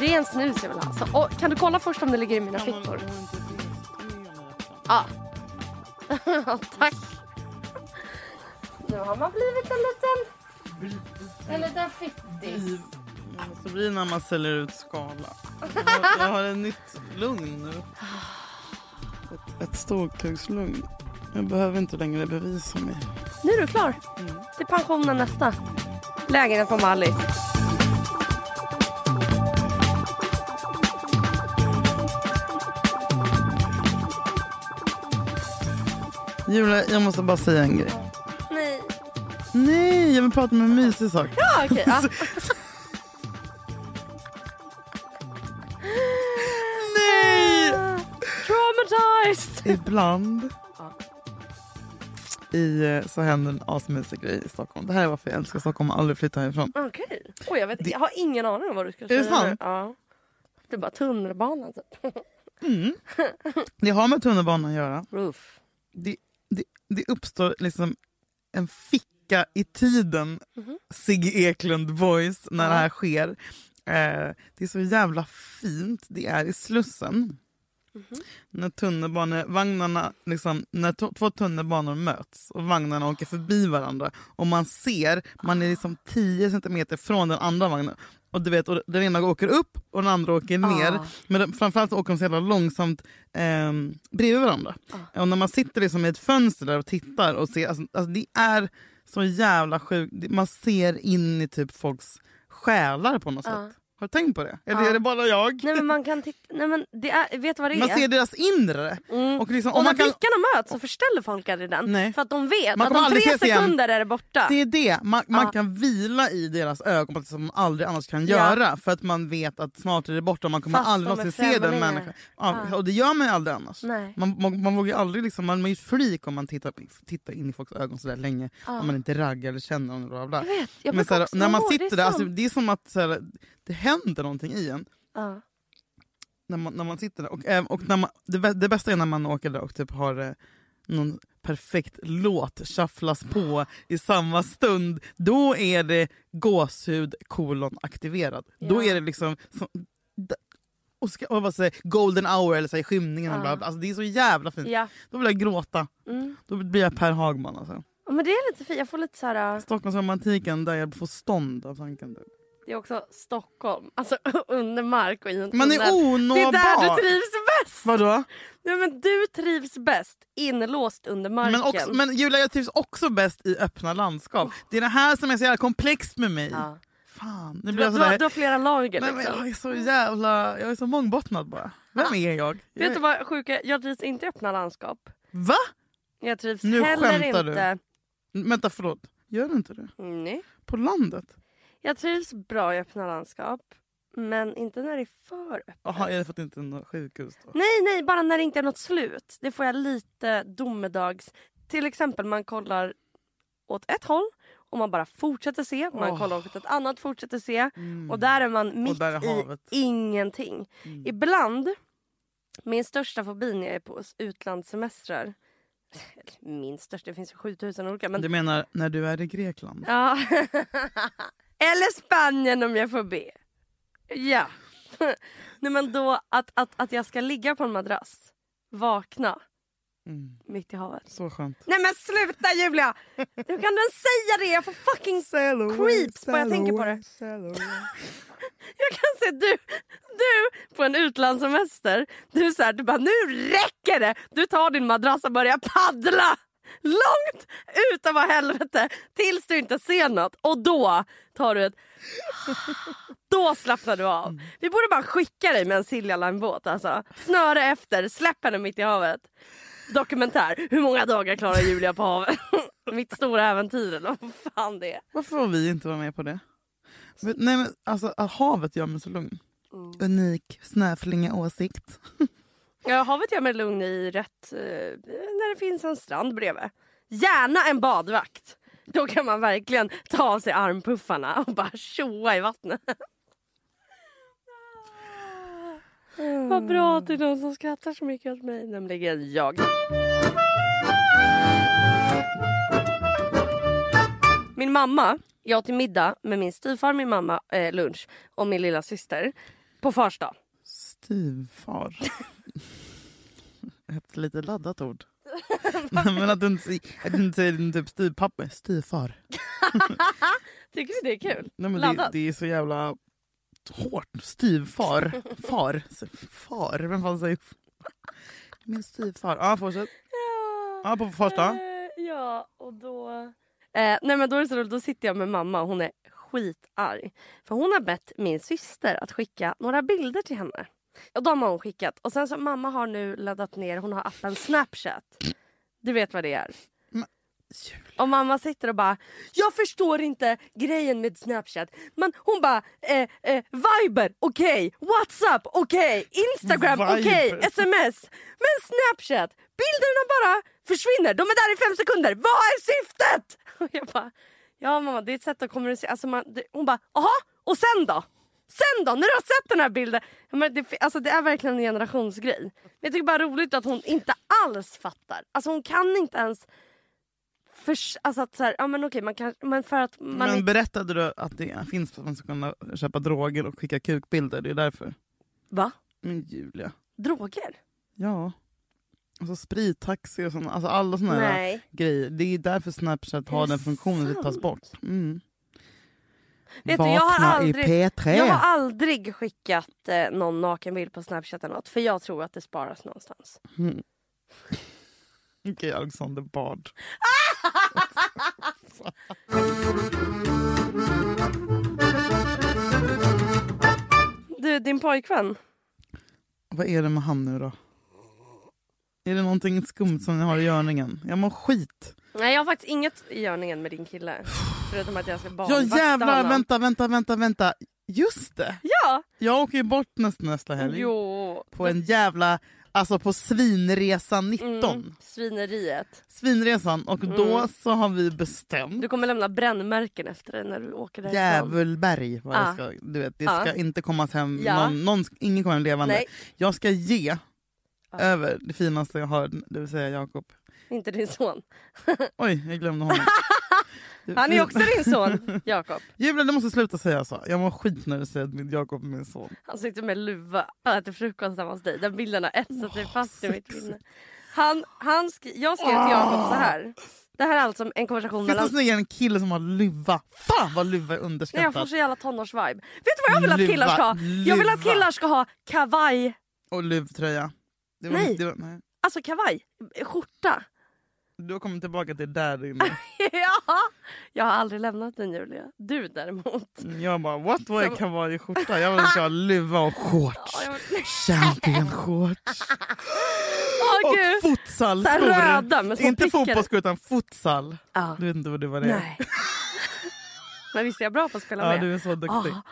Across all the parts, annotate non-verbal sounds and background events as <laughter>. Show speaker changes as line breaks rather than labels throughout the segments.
en snus jag vill ha. Så, och, kan du kolla först om det ligger i mina fickor? Ja. <laughs> Tack. Nu har man blivit en liten... En liten fittis.
Mm, Så blir det när man säljer ut <laughs> skala. Jag har, jag har ett nytt lugn nu. Ett, ett storkukslugn. Jag behöver inte längre bevisa mig.
Nu är du klar. Till pensionen nästa. Lägenhet på Mallis.
Julia, jag måste bara säga en grej.
Nej.
Nej, jag vill prata om en mysig sak.
Ja, Ah, okej. ja.
Nej!
Traumatized!
Ibland
Ja.
i, eh, så händer en asmysig grej i Stockholm. Det här är varför jag älskar Stockholm och aldrig flyttar härifrån.
Okej. Oj, jag, vet, jag har ingen aning om vad du ska
det
säga. nu.
sant?
Ja. Det är bara tunnelbanan typ.
Mm. Det har med tunnelbanan att göra.
Roof.
Det, det, det uppstår liksom en ficka i tiden, Sigge Eklund voice, när det här sker. Eh, det är så jävla fint. Det är i Slussen. När tunnelbanevagnarna, liksom, när to- två tunnelbanor möts och vagnarna åker förbi varandra och man ser, man är liksom 10 centimeter från den andra vagnen. Och du vet, och den ena åker upp och den andra åker ner.
Ah.
Men de, framförallt så åker de så jävla långsamt eh, bredvid varandra. Och när man sitter liksom i ett fönster där och tittar och ser, alltså, alltså, det är så jävla sjukt. Det- Man ser in i typ folks själar på något sätt. Har du tänkt på det? Eller
Ja.
är det bara jag?
Nej men man kan titta, nej men det är, vet du vad det
Man
är?
ser deras inre.
Mm.
Och liksom,
och
om
när
man kan,
blickarna möts så förställer folk aldrig den.
Nej.
För att de vet
Man
att
kommer
om
aldrig
tre
ses igen.
sekunder är det borta.
det är det, man, man
Ja.
kan vila i deras ögon på ett sätt som man aldrig annars kan
Ja.
göra för att man vet att snart är det borta och man kommer
Fast
aldrig
de är
någonsin se den
främlingar.
människan. Ja, och det gör man ju aldrig annars.
Nej.
Man, man, man vågar ju aldrig liksom, man är ju ett freak om man tittar, tittar in i folks ögon sådär länge om man inte raggar eller känner någon. Bla bla.
Jag vet, jag brukar
Men såhär,
också
när man
gå, det är
sitter där, alltså,
sant.
det är som att såhär, det händer någonting i en.
Ja.
när man, när man sitter där. Och, eh, och när man, det, bä- det bästa är när man åker där och typ har eh, någon perfekt låt shufflas på i samma stund. Då är det gåshud kolon aktiverad. Då
Ja.
är det liksom... Så, d- och ska, och vad säger, golden hour eller så här, i skymningen. och Bla bla. Alltså, det är så jävla fint.
Ja.
Då vill jag gråta.
Mm.
Då blir jag Per Hagman. Alltså.
Ja, Men det är lite fint, jag får lite så här. äh,
Stockholmsromantiken där jag får stånd av tanken. typ.
det är också Stockholm, alltså <laughs> under mark och i en
Man är
tunnel. Det är där du
onåbar!
trivs bäst!
Vadå?
Nej, men du trivs bäst inlåst under marken.
Men, också, men Julia, jag trivs också bäst i öppna landskap. Det är det här som är så jävla komplext med mig.
Oh. ja.
Fan, nu
du,
blir
har-
jag
du, har,
sådär...
du har flera lager
Nej,
liksom. Ah.
men jag är så jävla... Jag är så mångbottnad bara. Vem är jag? jag
Vet du vad sjuka, jag trivs inte i öppna landskap.
Va?
Jag trivs
Nu
heller
skämtar du.
inte... Mm,
Vänta, förlåt. Gör du inte det?
Nej.
På landet?
Jag trivs bra i öppna landskap. Men inte när det är för öppet.
Jaha, är det för att det inte är något sjukhus då?
Nej, nej, bara när det inte är något slut. Det får jag lite domedags... Till exempel man kollar åt ett håll och man bara fortsätter se. Man
Åh.
kollar åt ett annat, fortsätter se. Mm. Och där är man mitt
Mm. där är
i
havet. Mm.
ingenting. Ibland, min största fobi när jag är på utlandssemestrar... <laughs> eller Min största, det finns ju 7000 olika. Men
Du menar när du är i Grekland?
Ja. <laughs> Eller Spanien om jag får be. Ja. <laughs> Nej men då att, att, att jag ska ligga på en madrass, vakna
Mm.
mitt i havet.
Så skönt.
Nej men sluta Julia! Hur kan den säga det? Jag får fucking...
Sail
Creeps, bara jag tänker på det.
sail away.
Jag <laughs> kan se du, du på en utlandssemester, du är så här, du bara nu räcker det! Du tar din madrass och börjar paddla! Långt utav vad helvete tills du inte ser något och då tar du ett... <laughs> Då slappnar du av. Vi borde bara skicka dig med en Silja Line-båt. Alltså. Snöre efter, släpp henne mitt i havet. Dokumentär. Hur många dagar klarar Julia på havet? <laughs> mitt stora äventyr eller vad fan det är.
Varför får vi inte vara med på det? Men- Nej, men, alltså, att havet gör mig så lugn. Unik snöflinga åsikt.
Ja, havet gör mig lugn i rätt... Eh, när det finns en strand bredvid. Gärna en badvakt. Då kan man verkligen ta av sig armpuffarna och bara tjoa i vattnet. Vad bra att det är någon som skrattar så mycket åt mig, nämligen jag. Min mamma, jag åt till middag med min styvfar, min mamma, eh, lunch och min lilla syster På fars dag.
Styvfar. Ett lite laddat ord. Nej, men att du inte, att du inte säger din typ styvpappa, styvfar.
Tycker du det är kul?
Nej, men det,
Laddat.
det är så jävla hårt. Styvfar. Far. Far. Vem fan säger Min styvfar. Ja, fortsätt.
Ja.
Ja, på fars dag.
Eh, Ja, och då... Eh, nej men då är det så roligt, då sitter jag med mamma och hon är skitarg. För hon har bett min syster att skicka några bilder till henne. Och de har hon skickat. Och sen så mamma har nu laddat ner, hon har appen Snapchat. Du vet vad det är. Och mamma sitter och bara, jag förstår inte grejen med Snapchat. Men hon bara, eh, eh, Viber, okej. Whatsapp, okej. Instagram,
Viber.
okej. Sms. Men Snapchat, bilderna bara försvinner. De är där i fem sekunder. Vad är syftet? <laughs> Och jag bara, ja mamma det är ett sätt att kommunicera. Alltså man, det, hon bara, jaha och sen då? Sen då? När du har sett den här bilden? Ja, Men det, alltså det är verkligen en generationsgrej. Men jag tycker bara det är roligt att hon inte alls fattar. Alltså hon kan inte ens... förs- alltså att så här, ja men okej, man kan, men för att man...
Men
inte-
berättade du att det finns för att man ska kunna köpa droger och skicka kukbilder? Det är därför.
va?
Men Julia.
Droger?
Ja. Alltså sprittaxi och såna, alltså alla såna här
Nej.
grejer. Det är därför Snapchat
Är
har
det
den funktionen att det tas
sant?
bort. Mm.
Vet du, jag har
Vakna
aldrig-
i P3.
Jag har aldrig skickat eh, någon nakenbild på Snapchat eller något för jag tror att det sparas någonstans.
Mm. Okej, Alexander Bard.
Du, din pojkvän?
Vad är det med han nu då? Är det någonting skumt som jag har i görningen? Jag mår skit.
Nej jag har faktiskt inget i görningen med din kille. Förutom att jag ska
Ja
barnvakta
jävlar,
honom.
vänta, vänta, vänta, vänta. Just det!
Ja!
Jag åker ju bort nästa, nästa helg.
Jo.
På en jävla, alltså på svinresa 19.
Mm, svineriet.
Svinresan och då så har vi bestämt
Du kommer lämna brännmärken efter dig när du åker därifrån.
Djävulberg. Vad
Ah.
jag ska, du vet, det
Ah.
ska inte komma hem.
Ja.
Någon, någon, ska- ingen kommer hem levande.
Nej,
Jag ska ge
Ah.
över det finaste jag har, det vill säga Jakob.
inte din son.
Mm. Oj, jag glömde honom.
<laughs> Han är också din
<laughs>
son, Jakob.
Julia, du måste sluta säga så. Jag mår skit när du säger att min Jakob är min son.
Han sitter med luva och äter frukost hemma hos dig. Den bilden har etsat sig
Åh,
fast i mitt
sexigt.
minne. Han, han skri- jag skrev till Jakob så här. Det här är alltså en konversation
Finns det
mellan...
snyggare än en kille som har luva? Fan vad luva
Nej,
är
jag
underskattat.
får så jävla tonårsvibe. Vet du vad jag vill att killar ska ha?
Luva,
Jag vill att
luva.
killar ska ha kavaj
Och luvtröja. Det var,
Nej.
Det var, nej.
Alltså kavaj, skjorta. <laughs>
Du har kommit tillbaka till där inne.
ja. Jag har aldrig lämnat den Julia. Du däremot.
<laughs> Jag bara what, vad
Som-
är kavajskjorta? Jag vill ska ha luva och
Ja,
shorts.
jag-
Champagneshorts.
Åh
Och
gud!
futsalskor.
Så här röda med små
Inte
prickar.
fotbollsskor utan futsal.
Ja.
Du vet inte vad det var det är.
Nej. <laughs> Men visst är jag bra på att spela
Ja,
med?
du är så duktig. Mm.
Ah,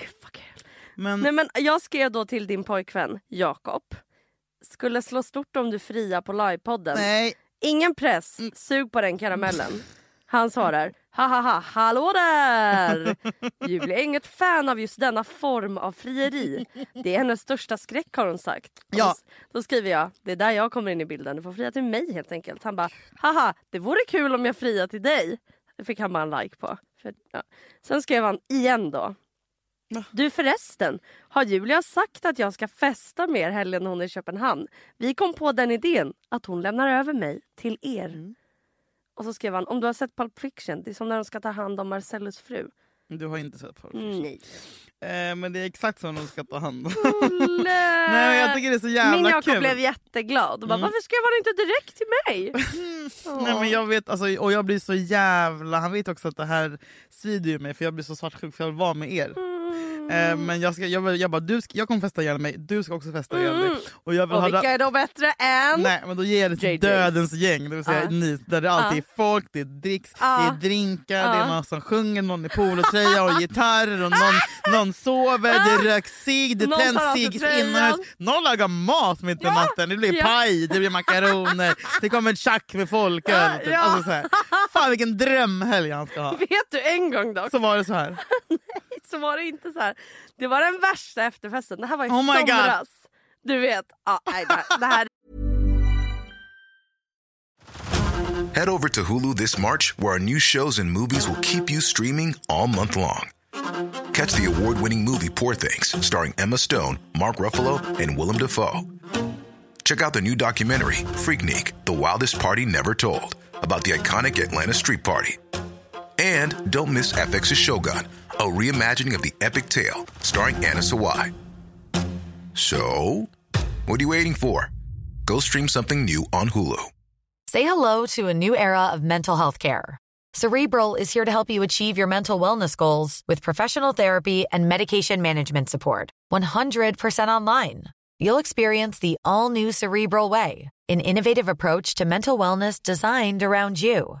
gud vad kul.
Men
Nej, men jag skrev då till din pojkvän Jakob. Skulle slå stort om du friar på livepodden.
nej,
Ingen press, sug på den karamellen. Han svarar ha ha ha, hallå där! Julia är inget fan av just denna form av frieri. Det är hennes största skräck har hon sagt. Och
Ja.
s- Då skriver jag, det är där jag kommer in i bilden, du får fria till mig helt enkelt. Han bara, haha det vore kul om jag friar till dig. Det fick han bara en like på. För, ja. Sen skrev han igen då. Du förresten, har Julia sagt att jag ska festa med er helgen hon är i Köpenhamn? Vi kom på den idén att hon lämnar över mig till er.
Mm.
Och så skrev han, om du har sett Pulp Fiction, det är som när de ska ta hand om Marcellus fru.
du har inte sett på
Nej.
Eh, men det är exakt så de ska ta hand om.
<laughs> Olle!
Nej, men jag tycker det är så jävla
Min Jakob
kul. Mm.
blev jätteglad och bara, varför skrev han inte direkt till mig?
Nej, men jag vet, alltså, och jag blir så jävla... Han vet också att det här svider ju mig för jag blir så svartsjuk för jag vill vara med er. <laughs>
Mm.
Eh, men jag, ska, jag, vill- jag bara, du ska, jag kommer festa ihjäl mig, du ska också festa ihjäl dig. Och jag vill
Mm. Och
ha
vilka är då bättre än?
Nej, men då ger jag det till
JJ's.
dödens gäng, det vill säga
Ja.
ni, där det
Ah.
alltid är folk, det är dricks, det
Ja.
är drinkar, det
Ja.
är någon som sjunger, någon i polotröja och gitarr, och någon, någon sover, det röks cigg, det
Ah. Någon tar av
tänds
sig
cigg
tröjan.
inomhus, någon lagar mat mitt på natten, det blir
Ja.
paj, det blir makaroner, det kommer ett tjack med folköl. Typ.
Ja.
Alltså, så här. Fan vilken drömhelg han ska ha.
<laughs> Vet du en gång dock,
Så var det så här.
så var det inte så här. Det var den värsta efterfesten. Det här var i
Oh my God.
somras. Du vet, ja, nej, det här- det här
Head over to Hulu this March, where our new shows and movies will keep you streaming all month long. Catch the award winning movie Poor Things, starring Emma Stone, Mark Ruffalo, and Willem Dafoe. Check out the new documentary, Freaknik The Wildest Party Never Told, about the iconic Atlanta Street Party. And don't miss FX's Shogun, a reimagining of the epic tale, starring Anna Sawai. So, what are you waiting for? Go stream something new on Hulu.
Say hello to a new era of mental health care. Cerebral is here to help you achieve your mental wellness goals with professional therapy and medication management support. 100% online. You'll experience the all new Cerebral Way, an innovative approach to mental wellness designed around you.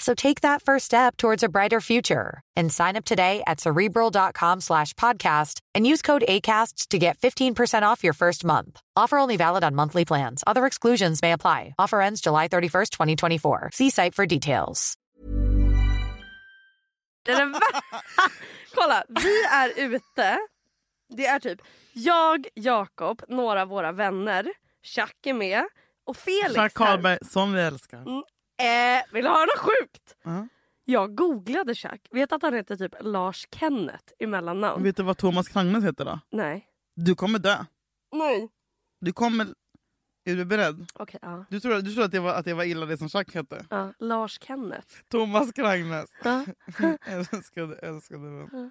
So take that first step towards a brighter future and sign up today at cerebral.com slash podcast and use code ACAST to get 15% off your first month. Offer only valid on monthly plans. Other exclusions may apply. Offer ends July 31st, 2024. See site for details.
Det är det vär- <laughs> Kolla, vi är ute. Det är typ jag, Jakob, några av våra vänner, Chuck är med och Felix
Clark
här.
Karlberg, som vi älskar.
Eh, vill du höra något sjukt?
Ja.
Jag googlade Chuck. Vet att han heter typ Lars Kenneth i mellannamn?
Vet du vad Thomas Krangnes heter då?
Nej.
Du kommer dö.
Nej.
Du kommer... Är du beredd?
Okej, ja.
Du tror, du tror att, det var, att det var illa det som Chuck hette?
ja. Lars Kenneth.
Thomas Krangnes.
Ja.
<laughs> älskade, älskade vän.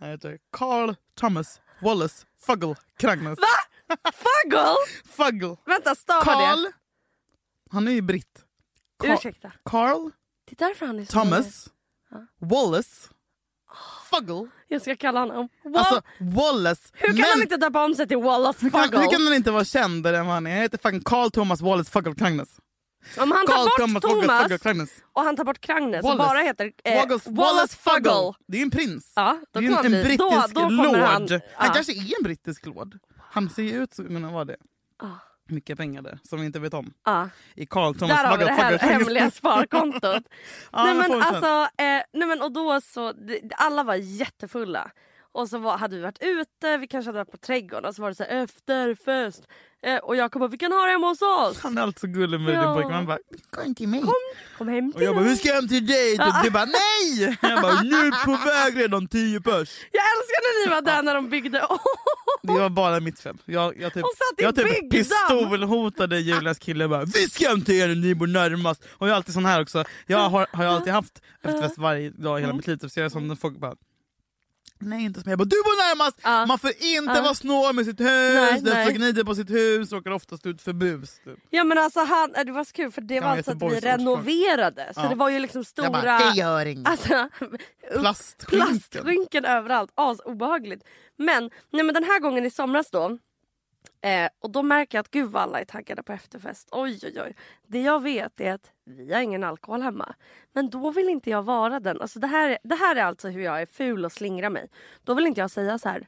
Han heter Carl Thomas Wallace Fuggle Krangnes.
Fuggle!
Fuggle.
<laughs> Vänta, stava det.
Carl. Han är ju britt. Carl-
Ursäkta.
Carl
Det är därför han är så
Thomas Wallace Fuggle.
Jag ska kalla honom. Wall-
Alltså Wallace.
hur kan
Men-
han inte döpa om sig till Wallace
hur kan,
Fuggle?
hur kan han inte vara kändare än vad han är? Han heter fucking Carl Thomas Wallace Fuggle Krangnes.
Om han
Carl
tar bort
Thomas
Thomas,
Fuggle Fuggle Krangnes.
och han tar bort Krangnes och
Wallace.
bara heter eh,
Wallace, Wallace Fuggle. Det är en prins.
Ja,
det
då
är
kommer
en,
han
en
bli-
brittisk
då- då kommer
lord. Han,
han- ja.
kanske är en brittisk lord. Han ser ju ut som att vara det.
Ah.
Mycket pengar där som vi inte vet om.
Ja.
I Carl Thomas
Där har vi
Fuggle
det här
Fuggle <laughs> Krangnes.
hemliga sparkontot.
Ja,
nej,
men
men
får vi sen.
alltså, eh, nej men och då så, det- alla var jättefulla. Och så var, hade vi varit ute, vi kanske hade varit på trädgården och så var det så här, efterfest. Eh, och jag kom bara, vi kan ha det hemma hos oss.
Han är alltid så gullig med din
Ja.
pojkman. Han bara, kom till mig.
Kom hem
Och
till
jag bara,
mig.
vi ska hem till dig! Typ,
<laughs>
Du, du bara, nej! Jag bara, nu är på väg redan tio pers.
Jag älskar när ni var där när de byggde <laughs>
Det var bara mitt fel. Jag, jag typ,
Hon satt i
jag typ
byggdamm.
pistolhotade Julias kille. Bara, vi ska hem till er, ni bor närmast. Och jag är alltid sån här också. Jag har, har jag alltid haft efterfest varje dag i hela mitt liv. Typ. Så jag är sån när folk bara, nej inte som jag. jag bara, du bor närmast!
Ja.
Man får inte
Ja.
vara snål med sitt hus.
Nej,
Den som
nej.
gnider på sitt hus råkar oftast ut för bus. Typ.
Ja men alltså han, det var så kul för det
Ja,
var alltså att vi
Göteborgs ordspråk.
renoverade. Så
Ja.
det var ju liksom stora...
Jag bara, det gör inget.
Alltså,
Plastskynken.
plastskynken överallt. As obehagligt. Men, nej, men den här gången i somras då. Eh, och då märker jag att gud vad alla är taggade på efterfest. Oj oj oj. Det jag vet är att vi har ingen alkohol hemma. Men då vill inte jag vara den. Alltså, det, här, det här är alltså hur jag är ful och slingrar mig. Då vill inte jag säga så här.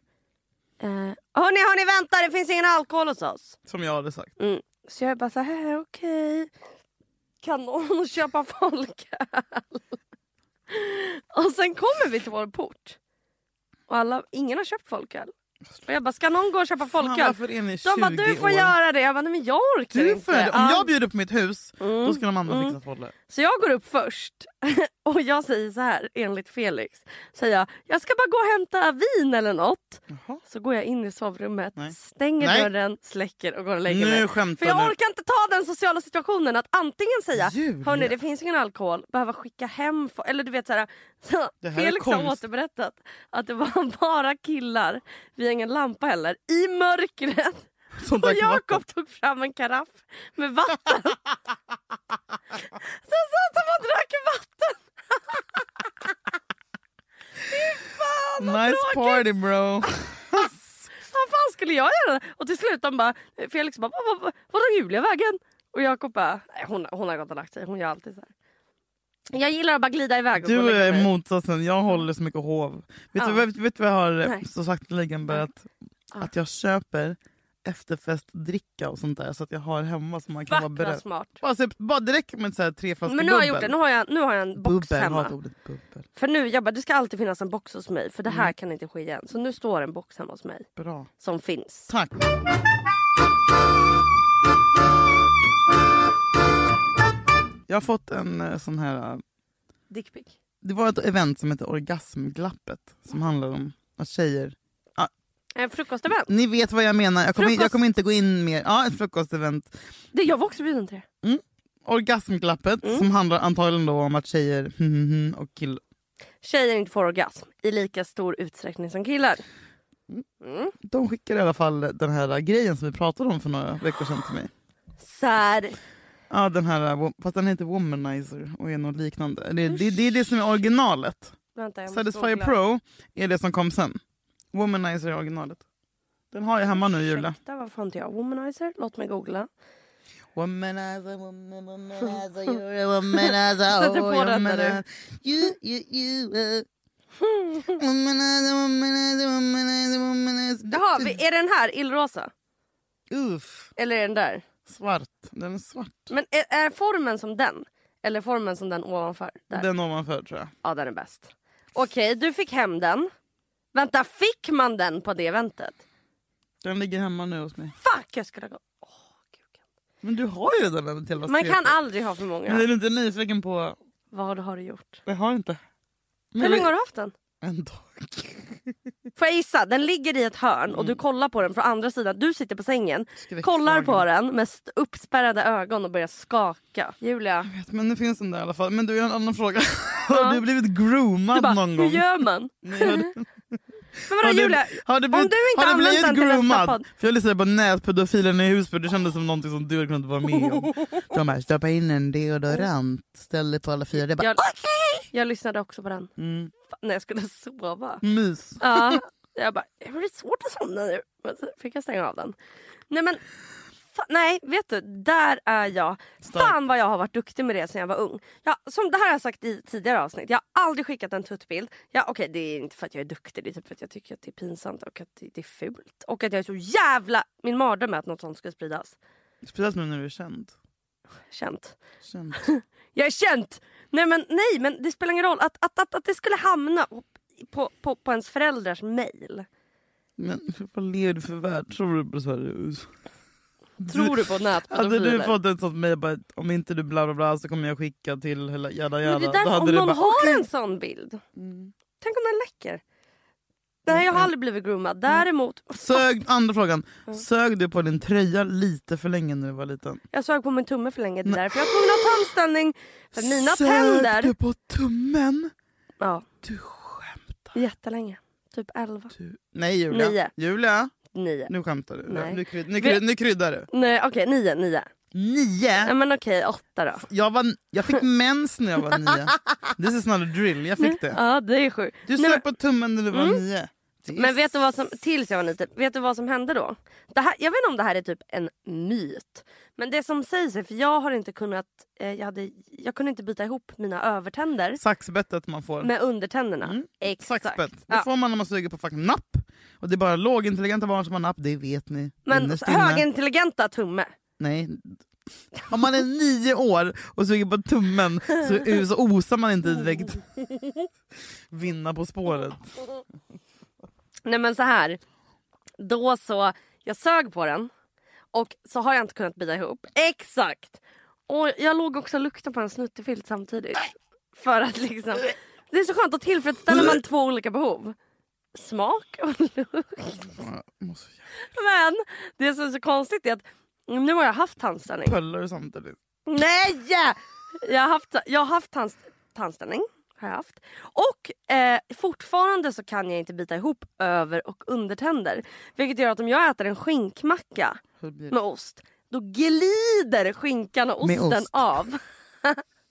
Eh, hörni hörni vänta det finns ingen alkohol hos oss.
Som jag hade sagt.
Mm. Så jag är bara så här, okej. Kan någon köpa folköl? Och sen kommer vi till vår port. Och alla, ingen har köpt folköl. Och jag bara, ska någon gå och köpa
Fan,
folköl?
varför är ni 20
De bara, du får
år?
göra det. Jag bara, nej men jag orkar
Du
inte.
får göra det. Om
Ja. Mm.
jag bjuder på mitt hus, då ska de andra fixa folle.
Så jag går upp först <laughs> och jag säger så här enligt Felix. Säger jag, jag ska bara gå och hämta vin eller något.
Jaha.
Så går jag in i sovrummet,
Nej.
stänger
Nej.
dörren, släcker och går och lägger
Nu
mig.
skämtar
För jag
du.
orkar inte ta den sociala situationen att antingen säga
Julia.
hörni det finns ingen alkohol, behöva skicka hem fo-" eller du vet så här, <laughs> så
Det här är
Felix har
konst.
återberättat att det var <laughs> bara killar, vi har ingen lampa heller, i mörkret.
<laughs> Som
Och
drack vatten.
Jakob tog fram en karaff med vatten.
<laughs>
Sen satt han och drack vatten.
Nice party bro.
Vad fan skulle jag göra? Och till slut de bara, Felix bara, vad, vad, vad, vad tog Julia vägen? Och Jakob bara, "Nej, hon, hon har gått och lagt sig. Hon gör alltid så här. Jag gillar att bara glida iväg. Och gå och
Du eh,
lägga
är
mig.
motsatsen, jag håller så mycket hov. Vet,
Ja.
du, vad- vet du vad jag har eh,
Nej.
så sagt börjat? Att jag köper efterfestdricka och sånt där så att jag har hemma så man kan
Vart
vara
vad
beredd.
smart.
Bara, så, bara direkt med så här tre flaskor
Men nu har jag gjort det. Nu har jag, nu har jag en box
bubbel. Jag hatar
hemma.
ordet bubbel.
För nu, jag bara, det ska alltid finnas en box hos mig för det
Mm.
här kan inte ske igen. Så nu står en box hemma hos mig
Bra.
som finns.
Tack. Jag har fått en eh, sån här... eh,
Dickpic.
Det var ett event som hette Orgasmglappet som handlade om att tjejer...
En frukostevent.
Ni vet vad jag menar. Jag kommer, in, jag
Frukost.
kommer inte gå in mer. Ja, ett frukostevent.
Det, jag var också bjuden till det.
Orgasmglappet
Mm.
som handlar antagligen då om att tjejer <laughs> hmm, och kill...
Tjejer inte får orgasm i lika stor utsträckning som killar.
De skickade i alla fall den här grejen som vi pratade om för några veckor sedan till mig.
Sad.
Ja, den här, fast den heter Womanizer och är något liknande. Det, det, det är det som är originalet.
Vänta, jag måste
Satisfyer
googla.
Pro är det som kom sen. Womanizer är originalet. Den har jag hemma nu Julia.
Ursäkta, varför har inte jag womanizer? Låt mig googla.
Womanizer, woman-
<laughs>
womanizer, you're a womanizer.
Sätter på
oh,
den där,
womanizer. You, you, you.
<laughs>
uh. Womanizer, womanizer, womanizer, womanizer.
Jaha, vi- är den här illrosa?
Uff,
Eller är den där?
svart. Den är svart.
Men är, är formen som den? Eller formen som den ovanför? Där.
Den ovanför tror jag.
Ja, den är bäst. Okej, du fick hem den. Vänta, fick man den på det eventet?
Den ligger hemma nu hos mig.
Fuck, jag skulle ha gått. Åh, kuken.
Men du har ju den här till oss.
Man
Peter.
kan aldrig ha för
Men är
många.
du inte nyfiken på...
Vad har du gjort?
Jag har inte. Men
Hur länge
vi-
har du haft den?
En dag.
Får jag gissa? Den ligger i ett hörn
Mm.
och du kollar på den från andra sidan. Du sitter på sängen,
Skräckslagen.
kollar på den med st- uppspärrade ögon och börjar skaka. Julia,
Jag vet, Men nu finns den där i alla fall. Men du, jag har en annan fråga. <laughs> Har du blivit groomad
du bara,
någon
hur
gång?
gör man?
Nej, har du-
Men vadå
har du-
Julia?
Har du blivit,
Om du inte
har du
använt
blivit
den till nästa
groomad?
podd.
För jag lyssnade på nätpedofilen i Husby. Det kändes som någonting som du hade kunnat vara med om. De bara, stoppa in en deodorant, ställ dig på alla fyra. Det bara,
Jag, jag lyssnade också på den.
mm,
Fan, När jag skulle <laughs> sova.
mys.
Ja, jag bara, det blir svårt att somna nu. Men så fick jag stänga av den. Nej men, fa- nej vet du, där är jag.
Stark.
Fan vad jag har varit duktig med det sen jag var ung. Jag, som det här har jag sagt i tidigare avsnitt, jag har aldrig skickat en tuttbild. Ja, Okej det är inte för att jag är duktig, det är typ för att jag tycker att det är pinsamt och att det, det är fult. Och att jag är så jävla, min mardröm är att något sånt ska spridas.
Speciellt nu när du är känd.
Känt.
känd.
Jag är känt! Nej men, nej, men det spelar ingen roll. Att, att, att, att det skulle hamna på, på, på ens föräldrars mail.
Men <laughs> vad lever du för värld? Tror du på så här...
Tror
<laughs>
du på
Hade
nätpedofiler?
du fått ett sånt mejl bara om inte du bla bla bla så kommer jag skicka till hela jada
Men det
jada.
är därför om
du
någon
bara,
har
"Okej." Mm.
en sån bild. Tänk om den läcker. Nej jag har aldrig blivit
Mm.
groomad. Däremot,
Sög, andra frågan.
Mm.
Sög du på din tröja lite för länge när du var liten?
jag sög på min tumme för länge. Det är därför jag var tvungen att ta omställning. För mina
Sög du
tänder.
på tummen?
Ja,
Du skämtar.
jättelänge. Typ 11,
Du... Nej Julia.
Nio.
Julia,
9.
nu skämtar du.
Nej.
Nu, kryd, nu, kryd, nu kryddar du.
Nej okej, 9, 9. Nej
Nio?
men okej, 8 då.
Jag, var, jag fick mens när jag var nio. This is not a drill, jag fick det.
Ja det är sjukt.
Du
Nej, men- Mm.
sög på tummen när du var nio. Det är
Men vet du vad som, tills jag var liten, vet du vad som hände då? Det här, jag vet inte om det här är typ en myt. Men det som sägs är, för jag har inte kunnat, eh, jag, hade, jag kunde inte byta ihop mina övertänder
Saxbettet man får.
med undertänderna. Exakt.
Mm. Saxbett. Det
Ja.
får man när man suger på fucking napp. Och det är bara lågintelligenta barn som har napp, det vet ni.
Men
Innerst inne.
högintelligenta tumme.
Nej. Om man är nio år och suger på tummen så, så osar man inte
<laughs>
direkt. Vinna på spåret.
Nej men så här. Då så, jag sög på den och så har jag inte kunnat bita ihop. Exakt! Och jag låg också och luktade på en snuttefilt samtidigt. För att liksom, det är så skönt, att tillfredsställer man två olika behov. Smak och <laughs> lukt.
Jag måste jävla
Men det som är så konstigt är att nu har jag haft tandställning.
pöller samtidigt.
Nej! Jag har haft, jag har haft tands, tandställning. Har jag haft. Och eh, fortfarande så kan jag inte bita ihop över och undertänder. Vilket gör att om jag äter en skinkmacka
Hur blir det?
med ost då glider skinkan och
Med
osten
ost.
av. <laughs>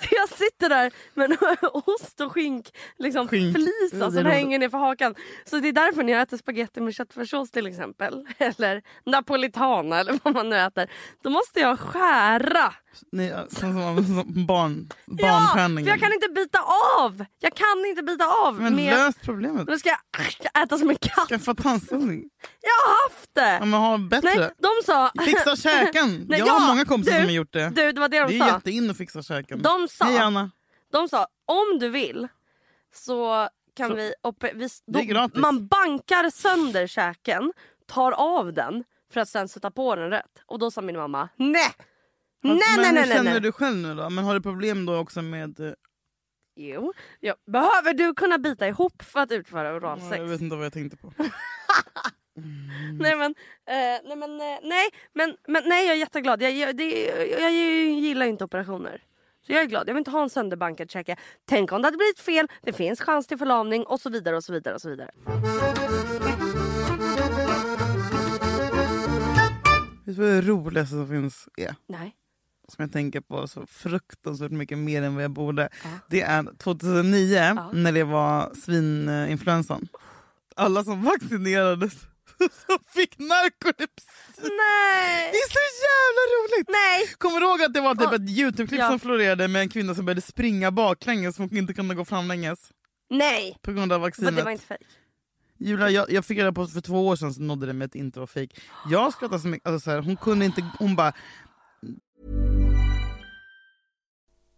Så jag sitter där med en <laughs> ost och skink, liksom
Skink.
flisa
Det är
som
roligt.
hänger ner för hakan. Så det är därför när jag äter spaghetti med köttfärssås till <laughs> exempel, eller napolitana eller vad man nu äter, då måste jag skära
Ni, alltså, som, som, som barn,
Ja, för
barnskärningen.
jag kan inte bita av! Jag kan inte bita av.
Men
med...
lös problemet.
Nu ska jag äta som en katt.
Skaffa tandställning.
Jag har haft
Ja,
det!
men ha bättre.
Nej, de sa...
Fixa käken.
<laughs> Nej,
jag har
ja,
många kompisar
du,
som har gjort det.
Du, det var det de
det är
sa.
jätteinne att fixa käken.
De sa-
Hej Anna.
De sa om du vill så kan
Så-
vi... ope- vi
Det är gratis.
man bankar sönder käken, tar av den för att sen sätta på den rätt. Och då sa min mamma nej! Nej,
men
nej,
hur
nej, nej,
känner
nej.
du själv nu då? Men har du problem då också med... eh,
Jo, ja. Behöver du kunna bita ihop för att utföra oralsex?
Jag vet inte vad jag tänkte på.
<laughs> Nej men, eh, nej, men, eh, nej, men, men nej, jag är jätteglad. Jag, jag, det, jag, jag gillar inte operationer. Så jag är glad. Jag vill inte ha en sönderbankad käke. Tänk om det hade blivit fel. Det finns chans till förlamning och så vidare och så vidare och så vidare.
Vet du vad det roligaste som finns är?
Nej.
Som jag tänker på så fruktansvärt mycket mer än vad jag borde. Det är 2009 när det var svininfluensan. Alla som vaccinerades <laughs> som fick narkolepsi.
Nej!
Det är så jävla roligt!
Nej!
Kommer du ihåg att det var typ
Ja.
ett Youtube-klipp
Ja.
som florerade med en kvinna som började springa baklänges och inte kunde gå framlänges
Nej!
på grund av
Men det
vaccinet?
var inte fejk.
Julia, jag, jag fick reda på för två år sedan så nådde det mig att det inte var fejk. Jag skrattade så mycket. Alltså så här, hon kunde inte... Hon bara...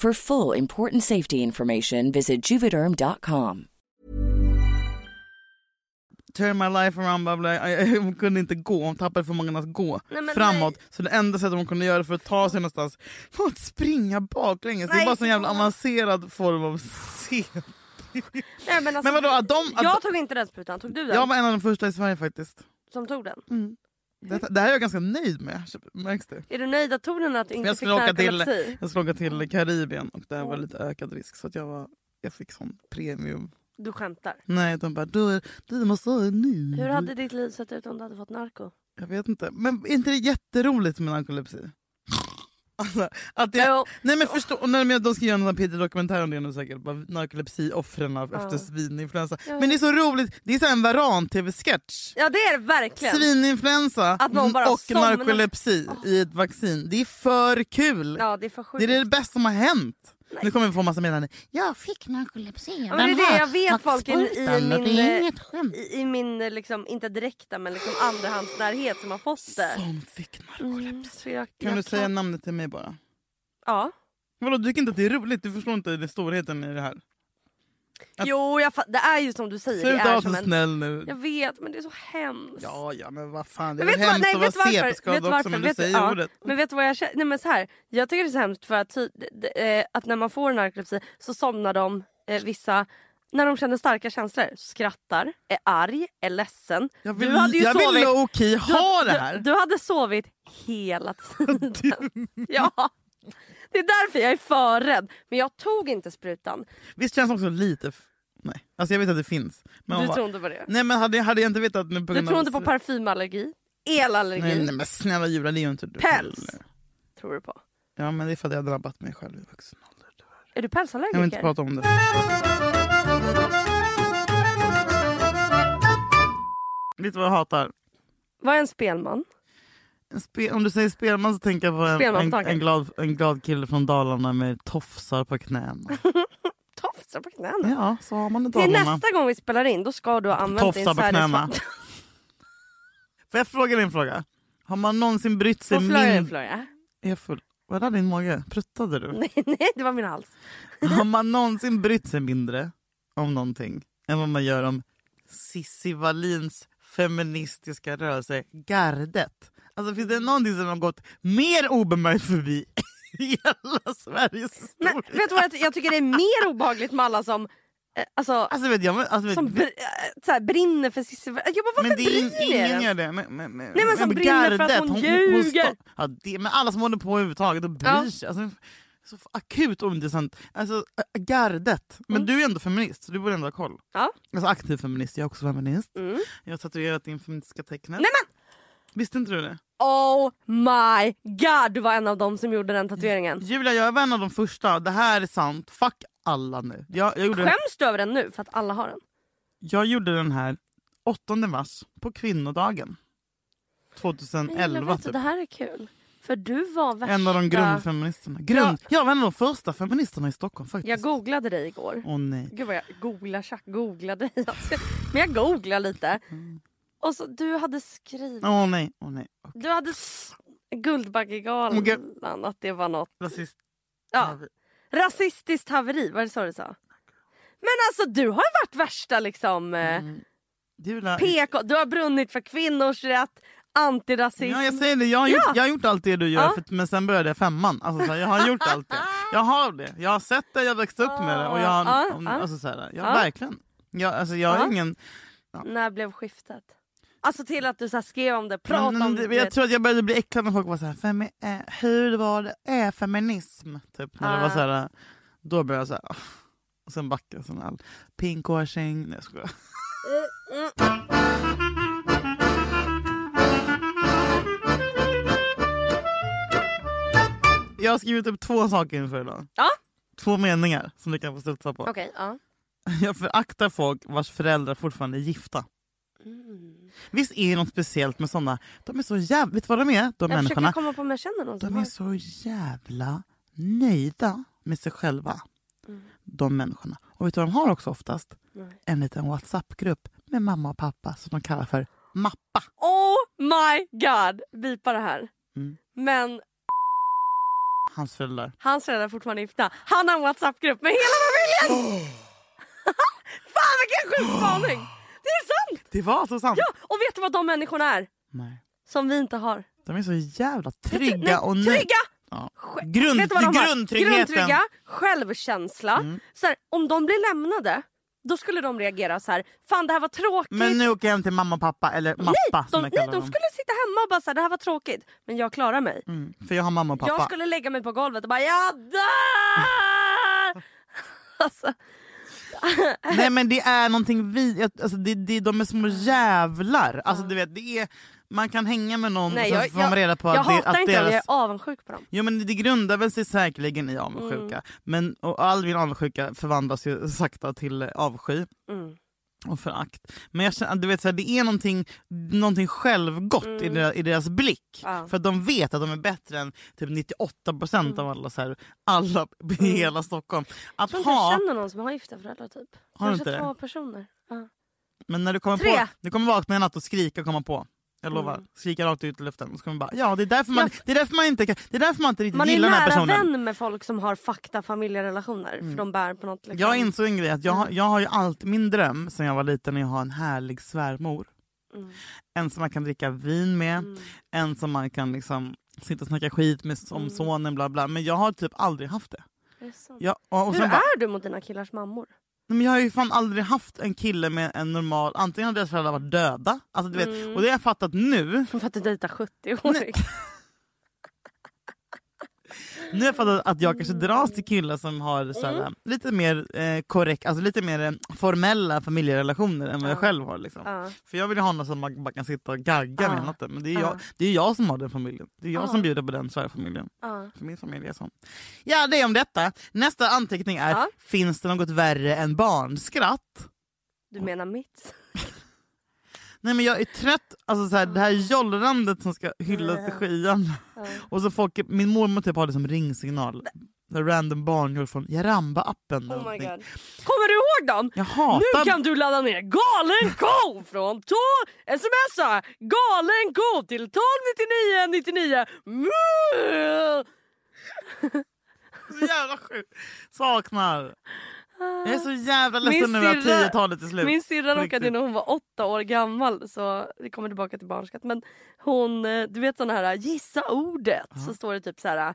For full important safety information, visit juvederm.com.
Turn my life around, blah, blah. I- I- Hon kunde inte gå, hon tappade förmågan att gå
Nej, men
framåt. Så det enda sättet hon kunde göra för att ta sig någonstans var att springa baklänges. Det är
Nej.
bara en sån jävla avancerad form av C.
Nej, men alltså,
Men vadå, att de- att-
jag tog inte den sprutan. Tog du den?
Jag var en av de första i Sverige faktiskt.
Som tog den?
Det, det här är jag ganska nöjd med, märks det?
Är du nöjd att tog den att du
Men
inte
jag
fick
skulle, åka till,
narkolepsi?
jag skulle åka till Karibien och där var lite ökad risk så att jag, var, jag fick sån premium.
Du skämtar.
Nej, de bara du, du måste ha en ny.
Hur hade ditt liv sett ut om du hade fått narko?
Jag vet inte. Men är inte det jätteroligt med narkolepsi? Alltså, att jag,
Jo.
nej men förstå, och när de- de ska göra en sån här Peter-dokumentär om det nu säkert. bara Narkolepsioffren av efter svininfluensa. Men det är så roligt, det är så här en varan-tv-sketch.
Ja det är det verkligen.
Svininfluensa
Att någon bara
och
somnar.
narkolepsi i ett vaccin. Det är för kul!
Ja det är för sjukt.
Det är det bästa som har hänt. Nu kommer vi få massa meddelanden. Jag fick narkolepsi.
Ja, men det är
Den
det
här
jag vet folk i, i min,
sprutan, Det är
eh,
inget skämt.
i, i min eh, liksom, inte direkta men liksom andrahandsnärhet som har fått det.
Som fick narkolepsi.
Mm, så jag,
Kan
jag
du säga namnet till mig bara?
Ja.
Vadå, du tycker inte att det är roligt? Du förstår inte det storheten i det här. Att-
Jo jag fa- det är ju som du säger. Det
Sluta
är
vara
som
så
en...
snäll nu.
Jag vet men det är så hemskt.
Ja, ja, men vad fan. Det är
Men
väl
vet du vad-
hemskt
nej,
att
vet
vara
du varför? Vet du varför?
CP-skadad också, men du
Vet du-
säger
ja.
ordet.
Men vet du vad jag känner? Nej, men så här, jag tycker det är så hemskt för att, ty, d- d- eh, att när man får narkolepsi så somnar de eh, vissa när de känner starka känslor, skrattar, är arg, är ledsen.
Jag vill,
du hade ju
jag vill
sovit.
low key ha det
Du,
här.
du hade sovit hela
<laughs>
tiden. ja. Det är därför jag är förrädd. Men jag tog inte sprutan.
Visst känns det också lite... f- Nej, alltså jag vet att det finns. Men
Du
man bara-
tror inte på det.
Nej, men hade, jag- hade jag inte vetat... Nu
Du
på grund
tror
av-
inte på parfymallergi, elallergi.
Nej, nej men snälla Julia, det är ju inte du.
Päls. Tror du på.
Ja men det är för att jag har drabbat mig själv i vuxen ålder.
Är du
Jag vill inte
pälsallergiker?
prata om det. Vet du vad jag hatar?
Vad är en spelman?
En spe- om du säger spelman så tänker jag på en,
Spelman på
en,
taket.
en, glad, en glad kille från Dalarna med tofsar
<laughs>
på knäna.
Tofsar på knäna.
Ja, så har man i
Till
Dalarna.
nästa gång vi spelar in då ska du ha använt din
<laughs> Tofsar på knäna.
Sveriges-
Får jag fråga din fråga? Har man någonsin brytt sig
På Florida,
mindre...
Florida.
Är jag full? Var det din mage? Pruttade
<laughs>
du?
Nej, nej, det var min hals.
Har man någonsin brytt sig mindre om någonting än vad man gör om Cissi Wallins feministiska rörelse Gardet? Alltså finns det någonting som har gått mer obemärkt förbi <laughs> i hela Sveriges
Nej,
historia?
vet du vad jag, jag tycker det är mer obehagligt med alla som, eh, alltså,
Alltså vet jag, men- alltså, vet,
som br- eh, så här, brinner för Cissi Wallin. Jag bara, varför
men det är
bryr ni
in,
er? alltså.
ingen gör det. Men, men, men,
men som brinner för att hon ljuger.
sta- ja, det, men alla som håller på överhuvudtaget och bryr
Ja.
sig. Alltså, så f- akut ointressant. Alltså, ä- gardet. Men
Mm.
du är ändå feminist, så du borde ändå ha koll.
Ja.
Alltså aktiv feminist, jag är också feminist.
Mm.
Jag har tatuerat in feministiska tecknet.
Nej,
men! Visste inte du det?
Oh my god, du var en av dem som gjorde den tatueringen.
Julia, jag var en av de första. Det här är sant. Fuck alla nu. Jag, jag, gjorde,
Skäms du över den nu för att alla har den?
jag gjorde den här 8 mars på kvinnodagen.
Men gillar,
2011
vet du,
typ.
Det här är kul. För du var värsta...
En av de grundfeministerna. Grund... Ja. Jag var en av de första feministerna i Stockholm
Jag
faktiskt.
googlade dig igår.
Åh nej.
Gud vad jag googlar, tjack, googlar dig. Alltså, Men jag googlar lite. Och så du hade skrivit...
Åh nej. Åh nej. Och
Du hade s- Guldbaggegalan,
Oh my
att det var något...
Rasist.
Ja. Rasistiskt haveri, var det så du sa? Men alltså du har ju varit värsta liksom...
Mm.
eh,
Julia.
PK, du har brunnit för kvinnors rätt, antirasism.
Ja, jag säger det. Jag har, gjort, jag har gjort allt det du gör,
Ja.
för, men sen började jag femman. Alltså, så här, jag har gjort
<laughs>
allt det. Jag har det. Jag har sett det, jag har växt upp med det. Och jag har,
Ja,
om,
ja.
alltså, så här, jag,
Ja.
Verkligen. Jag, alltså, jag har
Ja.
ingen...
När blev skiftet? Alltså till att du så här skrev om det, pratade
men,
om
Mm, det-
det.
men jag tror att jag började bli äcklad när folk var så här, femi, eh, hur var det är feminism? Typ, när det var
Ah.
så här, då började jag så här, "Åh." och sen backade jag. Sån all pinkwashing. Nej, jag skojar. Jag har skrivit upp två saker inför idag.
Ja.
Två meningar som du kan få studsa på.
Okej, ja.
<laughs> Jag föraktar folk vars föräldrar fortfarande är gifta.
Mm.
Visst är det något speciellt med såna? De är så jävla... Vet du vad de är? De
Jag försöker
människorna.
komma på om jag känner någon som
De är
har...
så jävla nöjda med sig själva.
Mm.
De människorna. Och vet du vad de har också oftast? En liten WhatsApp-grupp med mamma och pappa som de kallar för Mappa.
Oh my god! Bipa det här.
Mm.
Men
Hans föräldrar.
hans föräldrar är fortfarande gifta. Han har en WhatsApp-grupp med hela familjen!
<gasps>
<laughs> Fan vilken sjuk spaning! Det är sant!
Det var så sant!
Ja, och vet du vad de människorna är?
Nej.
Som vi inte har.
De är så jävla
Nej,
trygga och nöjda.
Trygga!
Ja.
Sj-
Grund,
Vet du vad
det
de har?
är grundtryggheten. Mm.
Grundtrygga, självkänsla. Så här, om de blir lämnade, då skulle de reagera så här. Fan det här var tråkigt.
Men nu åker jag hem till mamma och pappa, eller mappa
de,
som jag
nej,
kallar
de
dem.
skulle sitta hemma och bara så här, det här var tråkigt. Men jag klarar mig.
Mm, för jag har mamma och pappa.
Jag skulle lägga mig på golvet och bara jag dör! <laughs> alltså,
<laughs> Nej men det är någonting vi... Alltså, det, det, de är små jävlar. Alltså, du vet, det är, man kan hänga med någon
nej,
och
jag
sen får man reda på
jag, jag
att, det,
hatar
att
inte dem,
deras...
jag är avundsjuk på dem.
Jo men det grundar väl sig säkerligen i avundsjuka.
Mm.
Men, och all min avundsjuka förvandlas ju sakta till eh, avsky.
Mm.
och förakt. Men jag känner, du vet, så här, det är någonting, någonting självgott i, deras, i deras blick.
Mm. Ja.
För att de vet att de är bättre än typ 98 procent
Mm.
av alla, så här, alla i hela Stockholm. Att
Jag tror inte
ha,
jag känner någon som har gifta föräldrar typ.
Har du
Kanske
inte det?
två personer. Ja.
men när du kommer
Tre. Mm.
på, du kommer vakna en natt och skrika och komma på. Jag lovar, skrika rakt ut i luften. Och så kommer man bara, ja det är därför man, det är därför man inte kan, det är därför man inte riktigt
Man är
gillar den här
nära
personen. Mm.
vän med folk som har fakta familjerelationer. För de bär på något. Liksom. Mm.
Jag insåg en grej, att jag, har- jag har ju alltid min dröm sen jag var liten är att ha en härlig svärmor.
Mm.
En som man kan dricka vin med, en som man kan liksom sitta och snacka skit med om
Mm.
sonen bla bla. Men jag har typ aldrig haft det.
Det är sant.
Jag, och, och
Hur
sen bara,
är du mot dina killars mammor?
nej, men jag har ju fan aldrig haft en kille med en normal, antingen har deras föräldrar varit döda, alltså, du vet,
Mm.
och det har jag fattat nu,
För att du dejtar 70-åring.
nu har jag fattat att jag
Mm.
kanske dras till killar som har så här, lite mer eh, korrekt, alltså lite mer eh, formella familjerelationer än vad jag själv har. Liksom.
<laughs> Ja.
För jag vill ju ha någon som man bara kan sitta och gagga med
Ja.
hela natten. Men det är, jag, det är jag som har den familjen. Det är jag
Ja.
som bjuder på den svärfamiljen.
Ja.
För min familj är sån. Ja, det är om detta. Nästa anteckning är,
Ja.
finns det något värre än barnskratt?
Du menar mitt?
Nej men jag är trött, alltså så här, det här jollrandet som ska hyllas till skyan. Och så folk, min mormor typ har det som ringsignal. några random barnhjul från Jaramba-appen. eller
Oh my
någonting.
god. Kommer du ihåg dem?
Jag hatar...
Nu kan du ladda ner Galen ko från Tor. Smsa Galen ko till 129999. Mm.
Så jävla sjukt. Saknar. Jag är så jävla
Min
ledsen nu att
syrra-
10-talet är slut.
Min syrra
På
råkade
riktigt.
när hon var åtta år gammal, så vi kommer tillbaka till barnskatt. Men hon, eh, du vet sån här gissa ordet, så står det typ så här.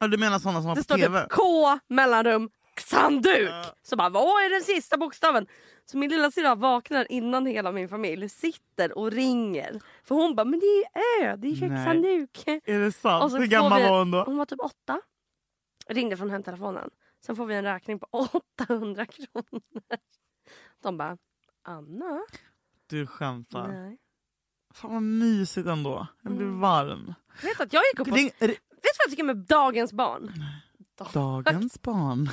Ja, du menar såna som var
Det
på
står
tv?
typ K mellanrum Xanduk. Så bara vad är den sista bokstaven? Så min lilla syrra vaknar innan hela min familj sitter och ringer. För hon bara men det är ju Ö, det är ju
Nej.
Xanduk.
Är det sant?
Och så
Hur
får
gammal
vi-
var hon då?
Hon var typ åtta. Ringde från hemtelefonen. Sen får vi en räkning på <laughs> 800 kronor. De bara Anna?
Du skämtar.
Nej. Mm.
Fan vad mysigt ändå. Jag blir varm.
Vet du att jag gick upp och...
Ring, r-
Vet du vad jag tycker med dagens barn?
dagens barn.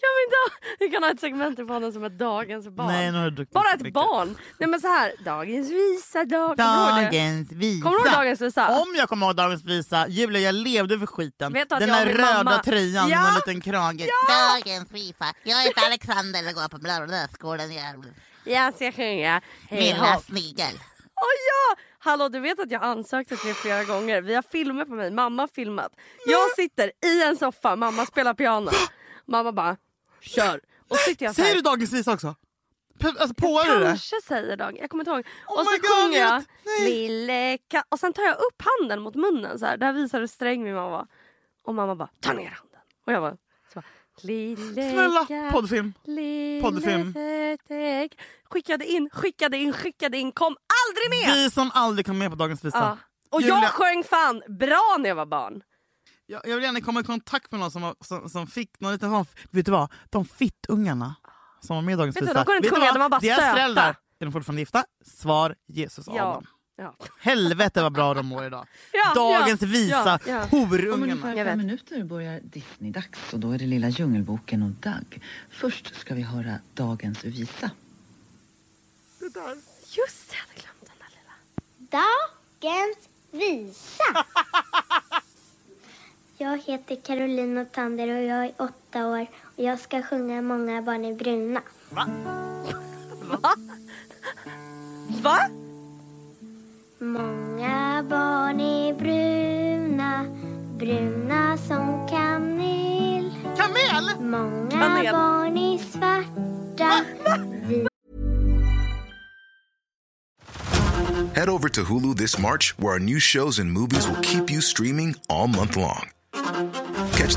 Kan vi, inte ha... vi kan ha ett segment i podden som är dagens barn.
Nej, nu har du druckit
Bara
för
ett
mycket.
barn. Nej men så här, dagens visa, dag... Kommer du ihåg det?
Dagens visa.
Kommer du ihåg dagens visa?
Om jag kommer ihåg dagens visa. Julia, jag levde för skiten.
Vet du att
Den
jag
där
och min
röda
mamma-
tröjan
Ja!
med en liten krage.
Dagens FIFA. Jag heter Alexander och går på bla bla bla skolan i Gävle.
Jag ska sjunga Hej
Lilla
hopp.
snigel.
Åh ja! Hallå du vet att jag ansökte till det flera gånger. Vi har filmer på mig, mamma har filmat. Jag sitter i en soffa, mamma spelar piano. Mamma bara kör. Och så sitter jag så
Säger du
här,
dagens visa också? Pe- Alltså, påar du det?
kanske säger Dag, jag kommer inte ihåg.
Oh
och så
my God,
sjunger
jag
jag
vet. Nej.
lille ka-" Och sen tar jag upp handen mot munnen så här. Där visar hur sträng min mamma var. Och mamma bara ta ner handen. Och jag bara, så bara lille
Snälla,
ka-
poddfilm.
lille
poddfilm.
ka-" Skickade in, skickade in, skickade in, kom aldrig med!
Vi som aldrig kom med på dagens visa.
Ja. Och
Julia-
jag sjöng fan bra när jag var barn.
Jag, jag vill gärna komma i kontakt med någon som, var, som, som fick någon liten sån... Vet du vad? De fittungarna som var med i Dagens
Vet du,
Visa.
de går inte sjunga,
vad?
de var bara
Deras
söta.
föräldrar, är de fortfarande gifta? Svar Jesus
Ja.
Adam.
Ja.
Helvete vad bra de mår idag.
<laughs> Ja,
Dagens
ja,
Visa,
ja, ja.
Om
Jag
horungarna.
ungefär
vet.
fem minuter börjar Disney-dags och då är det Lilla Djungelboken och Doug. Först ska vi höra dagens visa.
Just det, jag hade glömt den där lilla.
Dagens visa. Jag heter Carolina Tander och jag är åtta år och jag ska sjunga Många barn är bruna.
Va?
Många barn är bruna, bruna som kanel. Kanel? Många
Kanel.
barn är svarta,
Head over to Hulu this March, where our new shows and movies will keep you streaming all month long. Catch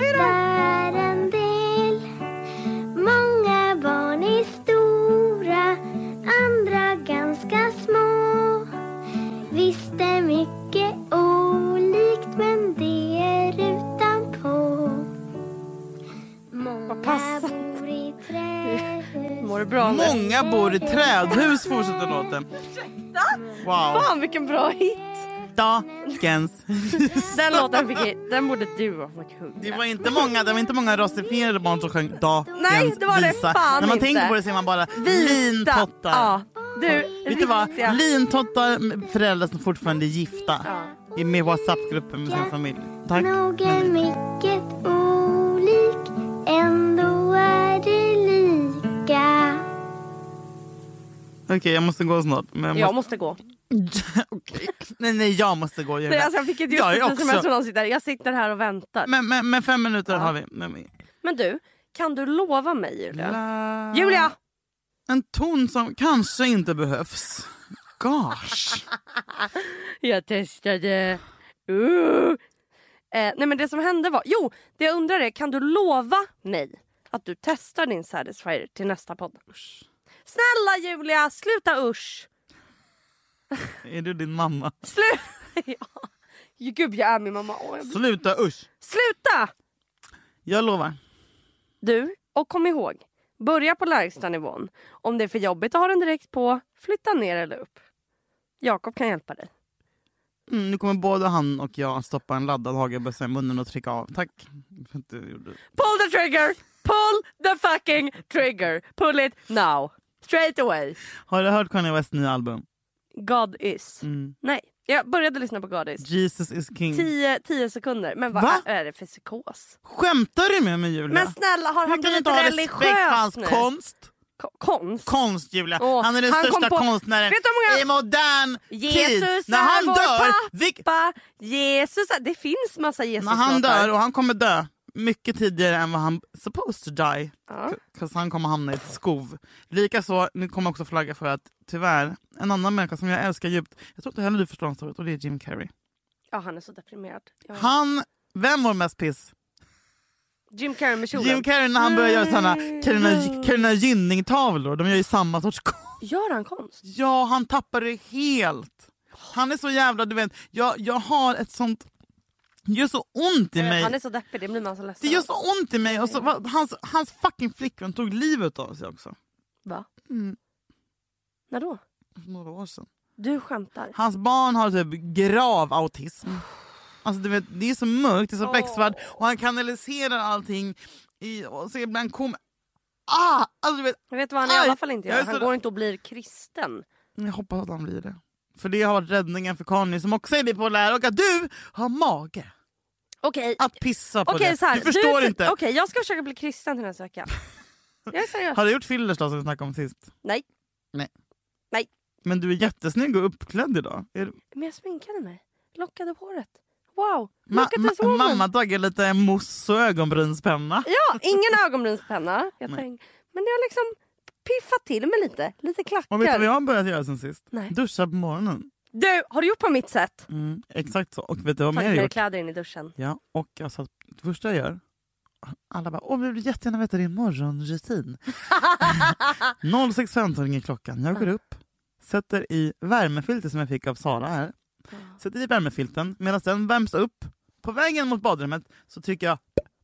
där en del. Många barn är stora, andra ganska små. Visst är mycket olikt men det är utanpå. Många
passar. <laughs>
bor i trähus.
Mår du bra nu?
Många bor i trädhus, fortsätter låten. Wow.
Fan vilken bra hit!
Dagens visa.
Den låten fick jag, den borde du ha fått
Det
sjunga.
var inte många, det var inte många rasifierade barn som sjöng Dagens
Nej, det var det
visa.
fan
När man
inte.
tänker på det ser man bara
Vita-
lintottar.
Ja, du,
Vet du vad?
riktiga-
Lintottar med föräldrar som fortfarande är gifta.
Ja.
I Med Whatsapp-gruppen med sin familj. Tack.
Nog är
Men-
mycket olik, ändå är det lika.
Okej, jag måste gå snart. Men jag
Jag
måste...
måste gå.
<laughs> Okej. Nej, nej, jag måste gå. Julia.
Nej, alltså jag fick ett
Jag är
just ett sms
också-
från någon sitter. Jag sitter här och väntar. Men,
men, men, men fem minuter har vi. Men- men-
du, kan du lova mig Julia?
La-
Julia!
En ton som kanske inte behövs. Gosh.
Jag testade. Uh. Eh, nej men det som hände var, jo det jag undrar är kan du lova mig att du testar din Satisfyer till nästa podd? Snälla Julia, sluta usch!
är du din mamma?
Sluta! <laughs> ja. Gud jag är min mamma. Åh, jag...
Sluta usch.
Sluta!
Jag lovar.
Du, och kom ihåg, Börja på lägsta nivån. Om det är för jobbigt att ha den direkt på, flytta ner eller upp. Jakob kan hjälpa dig.
Mm, nu kommer både han och jag att stoppa en laddad hagelbössa i munnen och trycka av. Tack för att du gjorde
Pull the trigger! Pull the fucking trigger! Pull it now! Straight away!
Har du hört Kanye Wests nya album?
God is.
Mm.
Nej, jag började lyssna på God is.
Jesus is king.
10 10 sekunder. Men vad
Va?
är det för psykos?
Skämtar du med mig Julia?
Men snälla, har han
Hur kan du
blivit
inte ha respekt för
religiös
hans
nu?
konst?
Ko- konst?
Konst Julia.
Åh,
han är den
han kom
största
på-
konstnären
Vet du hur många-
i modern tid.
Jesus
När
är
han
vår
dör, vilk-
pappa. Jesus är... Det finns massa Jesus
när han dör och han kommer dö mycket tidigare än vad han supposed to die.
Ja.
För han kommer hamna i ett skov. Likaså, nu kommer jag också flagga för att tyvärr, en annan människa som jag älskar djupt, jag tror inte heller du förstår hans historia, och det är Jim Carrey.
ja, han är så deprimerad. Ja.
Han, vem var mest piss?
Jim Carrey med kjolen.
Jim Carrey när han börjar göra såna Carolina, Carolina Gynning-tavlor, de gör ju samma sorts konst.
Gör han konst?
<laughs> Ja, han tappar det helt. Han är så jävla... Du vet, jag, jag har ett sånt... Det gör så ont i
Eh, Han är
mig.
så deppig, det blir man så ledsen
Det gör
av.
så ont i mig. Och så, va- hans, hans fucking flickvän tog livet av sig också.
Va?
Mm.
När då?
För några år sedan.
Du skämtar.
Hans barn har typ grav autism. Alltså, du vet, det är så mörkt, det är så becksvart och han kanaliserar allting. I, och så ibland kom... Ah! Alltså, du vet,
Jag vet vad han i
Aj,
alla fall inte
jag
gör.
är
Han
så-
går inte och blir kristen.
Jag hoppas att han blir det. För det har varit räddningen för Conny som också är bipolär och att du har mage
Okej,
att pissa på
okej
det.
så här.
Du förstår inte.
Okej, jag ska försöka bli kristen till nästa vecka. Jag är seriös.
Har du gjort fillers då som vi snackade om sist?
Nej,
Men du är jättesnygg och uppklädd idag. Är du...
men jag sminkade mig. Lockade håret. Wow,
Ma-
look at this
ma-
woman.
mamma har tagit lite mousse och ögonbrynspenna.
Ja, ingen ögonbrynspenna. Jag tänk, men jag har liksom piffat till mig lite. Lite klackar.
Och vet du vad jag har börjat göra sen sist?
Nej.
Duscha på morgonen.
Du, har du gjort på mitt sätt?
Mm, exakt så. Och vet du vad mer
Tagit
jag har
med
gjort?
kläder in i duschen.
Ja, och jag satt, det första jag gör, alla bara “Åh, vi vill jättegärna veta
<laughs>
din morgonrutin”. 06.15 ringer klockan, jag går upp, sätter i värmefilter som jag fick av Sara här. Sätter i värmefilten, medan den värms upp. På vägen mot badrummet så trycker jag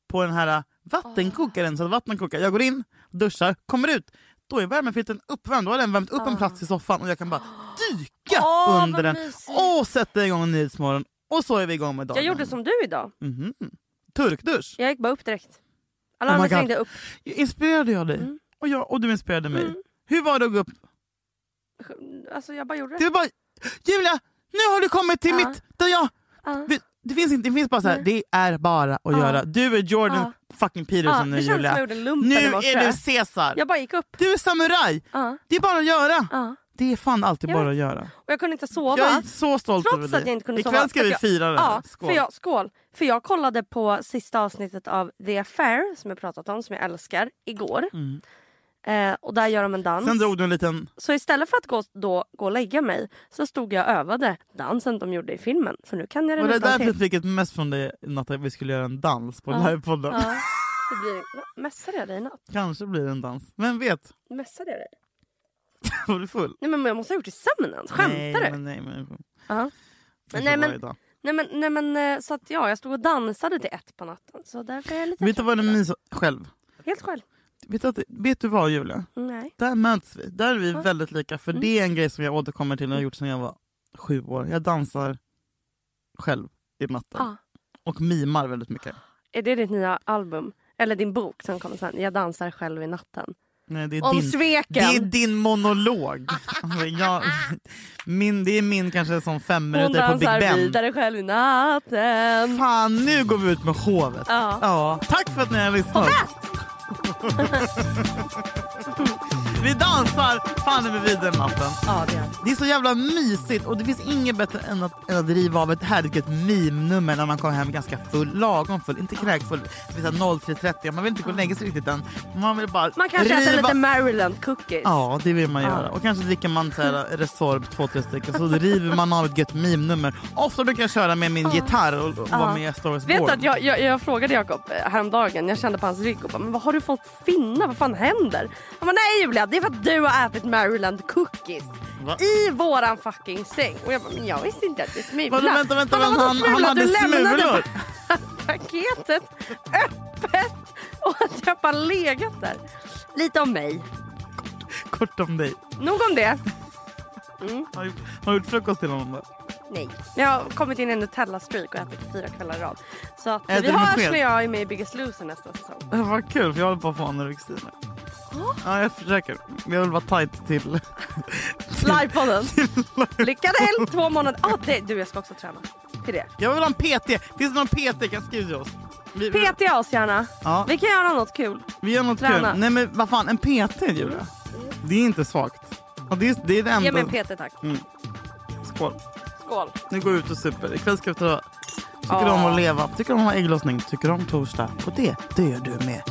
på den här äh,
Ah.
vattenkokaren så att vattnet kokar. Jag går in, duschar, kommer ut. Då är värmefilten uppvärmd, då har den värmt upp en plats i soffan och
<gasps>
jag kan bara dyka
Ah. Åh, vad
under den
mysigt.
och sätta igång Nyhetsmorgon. Och så är vi igång med dagen.
Jag gjorde som du idag.
Mhm. Turkdusch.
Jag gick bara upp direkt. Alla
Oh my
andra
God.
ringde upp
Inspirerade jag dig?
Mm.
Och, jag, och du inspirerade mig. Hur var det att gå upp?
Alltså jag bara gjorde det.
Det var bara, Julia, nu har du kommit till
Ja.
mitt... Där jag,
Ja.
Vi- det, finns inte, det finns bara så här, det är bara att göra. Du är Jordan fucking
Ja,
Peterson
det
nu
känns som jag
Julia.
gjorde lumpen
Nu
i morse.
är du Caesar.
Jag bara gick upp.
Du är samuraj.
Ja.
Det är bara att göra.
Ja.
Det är fan alltid
Jag
bara att göra.
Och jag kunde inte sova.
Jag är så stolt
Trots
över
att
dig.
jag inte kunde sova.
Ikväll ska
för
vi
att
fira det här.
ja, För jag, skål! För jag kollade på sista avsnittet av The Affair som jag pratat om, som jag älskar, igår. Eh, och där gör de en dans.
Mm. Sen drog du en liten...
Så istället för att gå, då, gå och lägga mig så stod jag och övade dansen de gjorde i filmen. För nu kan jag den
Och det är
utan
därför jag
till.
fick ett mess från dig i natt att vi skulle göra en dans på livepodden.
Ja, det blir... Va, Mässade jag dig i natt?
Kanske blir det en dans. Vem vet? <laughs>
Mässade jag dig?
Var du full?
Nej men jag måste ha gjort det i sömnen. Skämtar
nej,
du?
Men, nej, men...
Ja.
Jag
Nej, men-
får varje dag.
Nej men, nej, men eh, så att ja, jag stod och dansade till ett på natten. Så därför är jag lite
Vet du vad det
trött idag.
minns själv?
Helt själv.
Vet du, att, vet du vad Julia?
Nej.
Där möts vi. Där är vi
Ja. Mm.
väldigt lika. För det är en grej som jag återkommer till och har gjort sedan jag var sju år. Jag dansar själv i natten.
Ja.
Och mimar väldigt mycket.
Är det ditt nya album? Eller din bok som kommer sen? Jag dansar själv i natten.
Nej, det är
Om
din, det är
sveken!
din monolog. Alltså, jag, min, det är min kanske som fem
Hon
minuter på Big
dansar
Ben.
vidare själv i natten.
Fan, nu går vi ut med hovet.
Ja.
Tack för att ni har lyssnat. <laughs> vi dansar fan över vidare natten.
Ja, det är det.
Det är så jävla mysigt och det finns inget bättre än att, än att riva av ett härligt mimnummer när man kommer hem ganska full, lagom full, inte kräkfull. Det finns så här 03.30, man vill inte gå och lägga sig riktigt än. Man vill bara
Man kanske
riva...
äter lite Maryland cookies.
Ja, det vill man göra. Och kanske dricker man så här Resorb två, tre stycken så river man av ett gött mimnummer. Ofta brukar jag köra med min gitarr och, och vara med i Star Wars
Vet
Born.
du att jag, jag, jag frågade Jakob eh, häromdagen, jag kände på hans rygg och bara, men vad har du fått finna? Vad fan händer? Han bara, nej Julia, det är för att du har ätit Maryland cookies.
Va?
I våran fucking säng. Och jag bara, men jag visste inte att det är smula.
Vadå, vänta, vänta,
Han bara,
vänta,
vadå <laughs>
han- han
smula?
hade
Du lämnade
smulor.
pa- paketet öppet <laughs> Och att jag bara legat där. Lite om mig.
Kort om dig.
Nog om det.
Har du gjort, har du gjort frukost till honom då?
Nej. Jag har kommit in i Nutella-streak och ätit fyra kvällar i rad. Så att
Äter
vi
du med
hörs
sked?
när jag är med i Biggest Loser nästa säsong.
Det var kul för jag håller på att få anorexi nu. Ja, jag försöker. Jag vill vara tajt till... <laughs>
Livepodden. Lycka till! Två månader. Ah, det, du, jag ska också träna. Till det.
Jag vill ha en PT. Finns det någon PT kan skriva till oss. Vi, vi-
PTA oss gärna.
Ja.
Vi kan göra något kul.
vi gör något
träna. Mm.
kul. Nej men vad fan, en PT Julia. Det är inte svagt. Ja, det, är, det är det enda.
Ge mig en PT tack.
Skål.
Skål.
Nu går vi ut och super. Ikväll ska vi ta... Tycker du om att leva? Tycker du om att ha ägglossning? Tycker du om torsdag? Och det, det gör du med.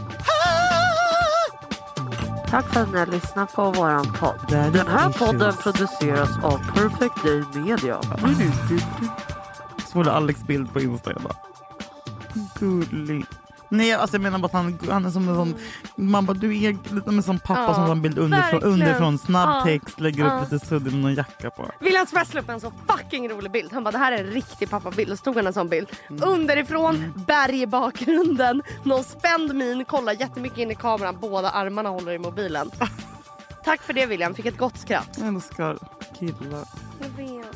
Tack för att ni har lyssnat på våran podd. Den här podden produceras av Perfect Day Media.
Så var det Mm. Alex bild på Insta idag. Gullig. Nej alltså jag menar bara att han, han är som en sån, man bara du är lite som en sån pappa
Ja,
som tar en bild underifrån,
verkligen.
underifrån
Ja,
snabb text, lägger
ja.
upp lite sudd med någon jacka på.
William Spets la upp en så fucking rolig bild. Han bara det här är en riktig pappabild. Och stod han en sån bild. Underifrån, berg i bakgrunden, någon spänd min, kollar jättemycket in i kameran, båda armarna håller i <laughs> mobilen. Tack för det William, fick ett gott skratt.
Jag älskar killar.
Jag vet.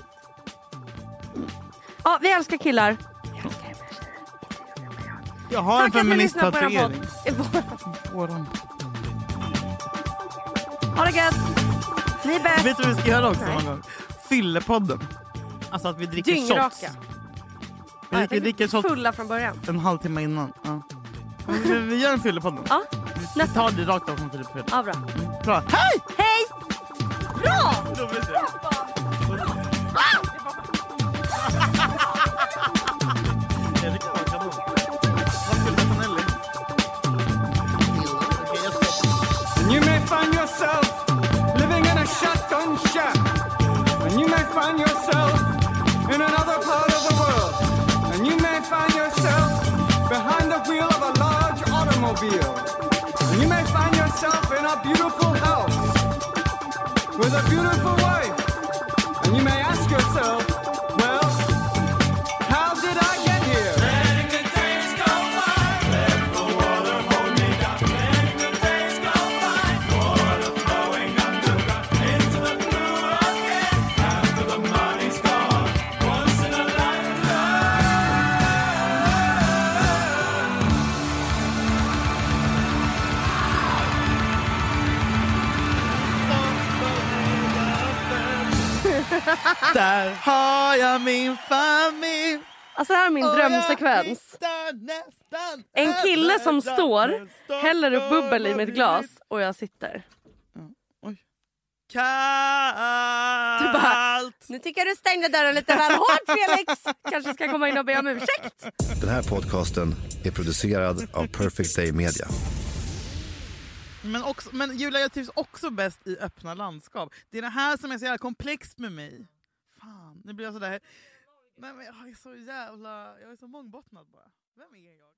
Ja, vi älskar killar.
Jag har en
Tack att ni lyssnar på våran
feministtatuering.
podd. <laughs>
Våran.
Ha det gött! Ni är bäst!
Vet du vad vi ska göra också
Nej.
någon gång? Fyllepodden. Alltså att vi dricker shots.
Dyngraka.
Vi
Ja, jag
dricker,
tänkte typ
dricker shots
Fulla från början.
en halvtimme innan. Ja. Vi, vi gör en fyllepodden.
Ja,
Vi tar det rakt av från Filip Fredrik.
ja bra.
Bra. Hej!
Hej! Bra!
Då blir det. Ja, det kan vara kanon. Vad skulle det vara, Nelly? Okej, jag ska-
You may find yourself living in a shotgun shack. And you may find yourself in another part of the world. And you may find yourself behind the wheel of a large automobile. And you may find yourself in a beautiful house with a beautiful wife. And you may ask yourself, well, how did I get here?
Där har jag min familj.
Alltså det här är min
Och jag
drömsekvens.
hittar nästan
En kille som
överallt.
står, häller upp bubbel i mitt glas
Kallt.
och jag sitter. Typ Nu tycker jag du stängde dörren lite väl hårt Felix. Kanske ska komma in och be om ursäkt.
Den här podcasten är producerad av Perfect Day Media.
Men, också, men Julia, jag trivs också bäst i öppna landskap. Det är det här som är så jävla komplext med mig. Fan, nu blir jag sådär... Nej, men jag är så jävla... Jag är så mångbottnad bara. Vem är jag?